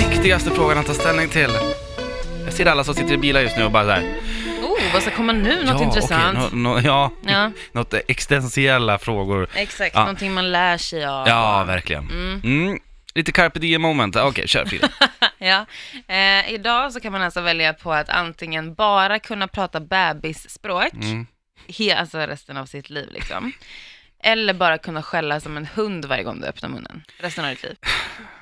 viktigaste frågan att ta ställning till. Jag ser alla som sitter i bilar just nu och bara såhär, Oh, vad ska komma nu? Något ja, intressant. okej, nå- nå- ja, Ja. något eh, existentiella frågor. Exakt, Ja. någonting man lär sig av. Ja, verkligen. Mm. Lite carpe diem moment. Okej, kör Frida. Ja. Eh, idag så kan man alltså välja på att antingen bara kunna prata bebisspråk, Mm. he, alltså resten av sitt liv liksom. Eller bara kunna skälla som en hund varje gång du öppnar munnen, resten av ditt liv.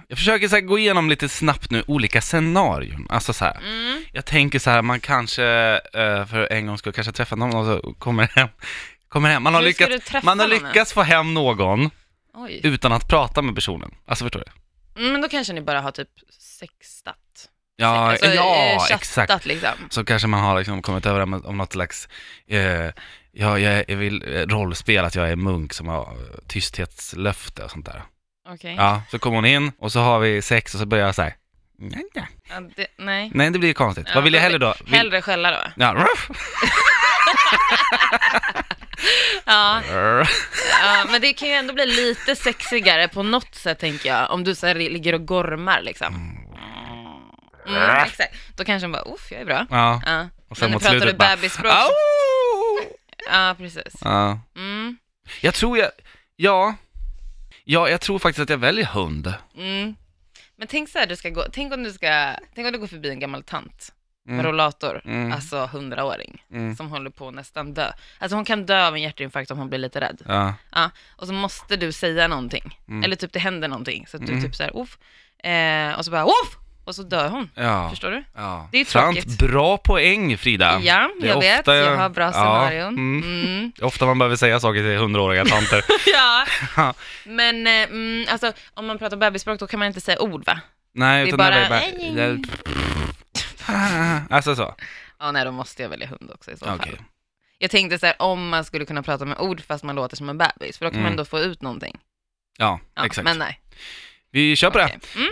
Jag försöker så här gå igenom lite snabbt nu olika scenarion. Alltså så här. Mm. Jag tänker så här, man kanske eh, för en gång skulle kanske träffa någon och så kommer hem. Kommer hem. Man har, Hur ska du lyckats, träffa man har någon? lyckats få hem någon Oj. utan att prata med personen. Alltså förstår du? Mm, Men då kanske ni bara har typ sextat. Ja, alltså, eh, ja chattat exakt. liksom. Så kanske man har liksom kommit över om- om något slags, eh, ja, jag, jag vill eh, rollspel att jag är munk som har eh, tysthetslöfte och sånt där. Okej. Ja, så kommer hon in och så har vi sex och så börjar jag säga nej, nej. Ja, det- nej. nej, det blir ju konstigt. Ja, Vad vill jag då hellre då? vill- Vill, Hellre skälla då. ja, ruff, Ja, ruff. ja, men det kan ju ändå bli lite sexigare på något sätt tänker jag. Om du så här ligger och gormar liksom. Mm, exakt. Då kanske de bara, uff, jag är bra. ja, Ja. Äh. och sen Men nu mot pratar du slutet bara, bebisspråk. "Au!" Ja, precis. ja. Mm, Jag tror jag, ja, ja, jag tror faktiskt att jag väljer hund. mm. Men tänk så här, du ska gå, tänk om du ska, tänk om du går förbi en gammal tant med Mm. rollator, Mm. alltså hundraåring, Mm. som håller på att nästan dö. Alltså hon kan dö av en hjärtinfarkt om hon blir lite rädd. Ja, Ja, och så måste du säga någonting. Mm. Eller typ det händer någonting. Så att du Mm. typ så här, off. Eh, och så bara, off! Och så dör hon. ja. Förstår du? Ja. Det är ju Sant. tråkigt. Bra poäng Frida. Ja, Det är jag vet. ofta- Jag har bra ja, scenarion. mm. Mm. Det är Ofta man behöver säga saker till hundraåriga tanter. ja. Ja. Men eh, mm, alltså, om man pratar bebisspråk då kan man inte säga ord va? Nej, Det är utan det bara- är bara... Alltså så. Ja, nej, då måste jag välja hund också i så Okej. fall. Jag tänkte så här, om man skulle kunna prata med ord fast man låter som en bebis, för då kan Mm. man ändå få ut någonting. Ja, Ja, exakt. Men nej. Vi kör på det. okej. Mm.